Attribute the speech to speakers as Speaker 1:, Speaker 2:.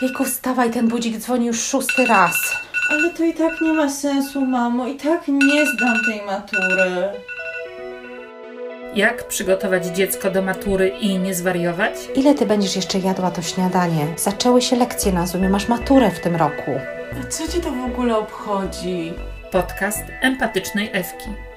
Speaker 1: Jejku, wstawaj, ten budzik dzwoni już szósty raz.
Speaker 2: Ale to i tak nie ma sensu, mamo. I tak nie zdam tej matury.
Speaker 3: Jak przygotować dziecko do matury i nie zwariować?
Speaker 1: Ile ty będziesz jeszcze jadła to śniadanie? Zaczęły się lekcje na Zoomie, masz maturę w tym roku.
Speaker 4: A co cię to w ogóle obchodzi?
Speaker 3: Podcast empatycznej Ewki.